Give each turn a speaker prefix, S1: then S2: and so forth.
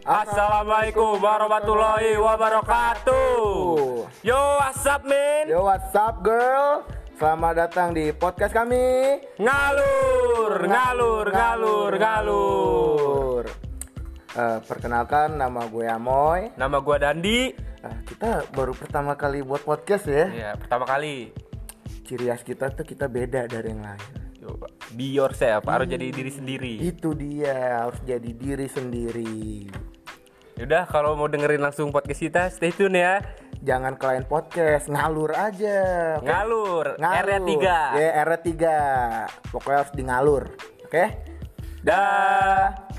S1: Assalamualaikum warahmatullahi wabarakatuh. Yo, what's up, min?
S2: Yo what's up girl? Selamat datang di podcast kami
S1: Ngalur, ngalur, ngalur, ngalur.
S2: Eh, Perkenalkan nama gue Amoy
S1: Nama gua Dandi.
S2: Nah, Kita baru pertama kali buat podcast ya
S1: Ya, pertama kali.
S2: Ciri khas kita tuh kita beda dari yang lain
S1: Yo, be yourself, harus jadi diri sendiri.
S2: Itu dia harus jadi diri sendiri
S1: Yaudah, kalau mau dengerin langsung podcast kita, stay tune ya.
S2: Jangan klien podcast, ngalur aja
S1: Ngalur,
S2: Ngalur. Iya,
S1: area 3.
S2: Ya, area 3 Pokoknya harus di ngalur Oke?
S1: Dah.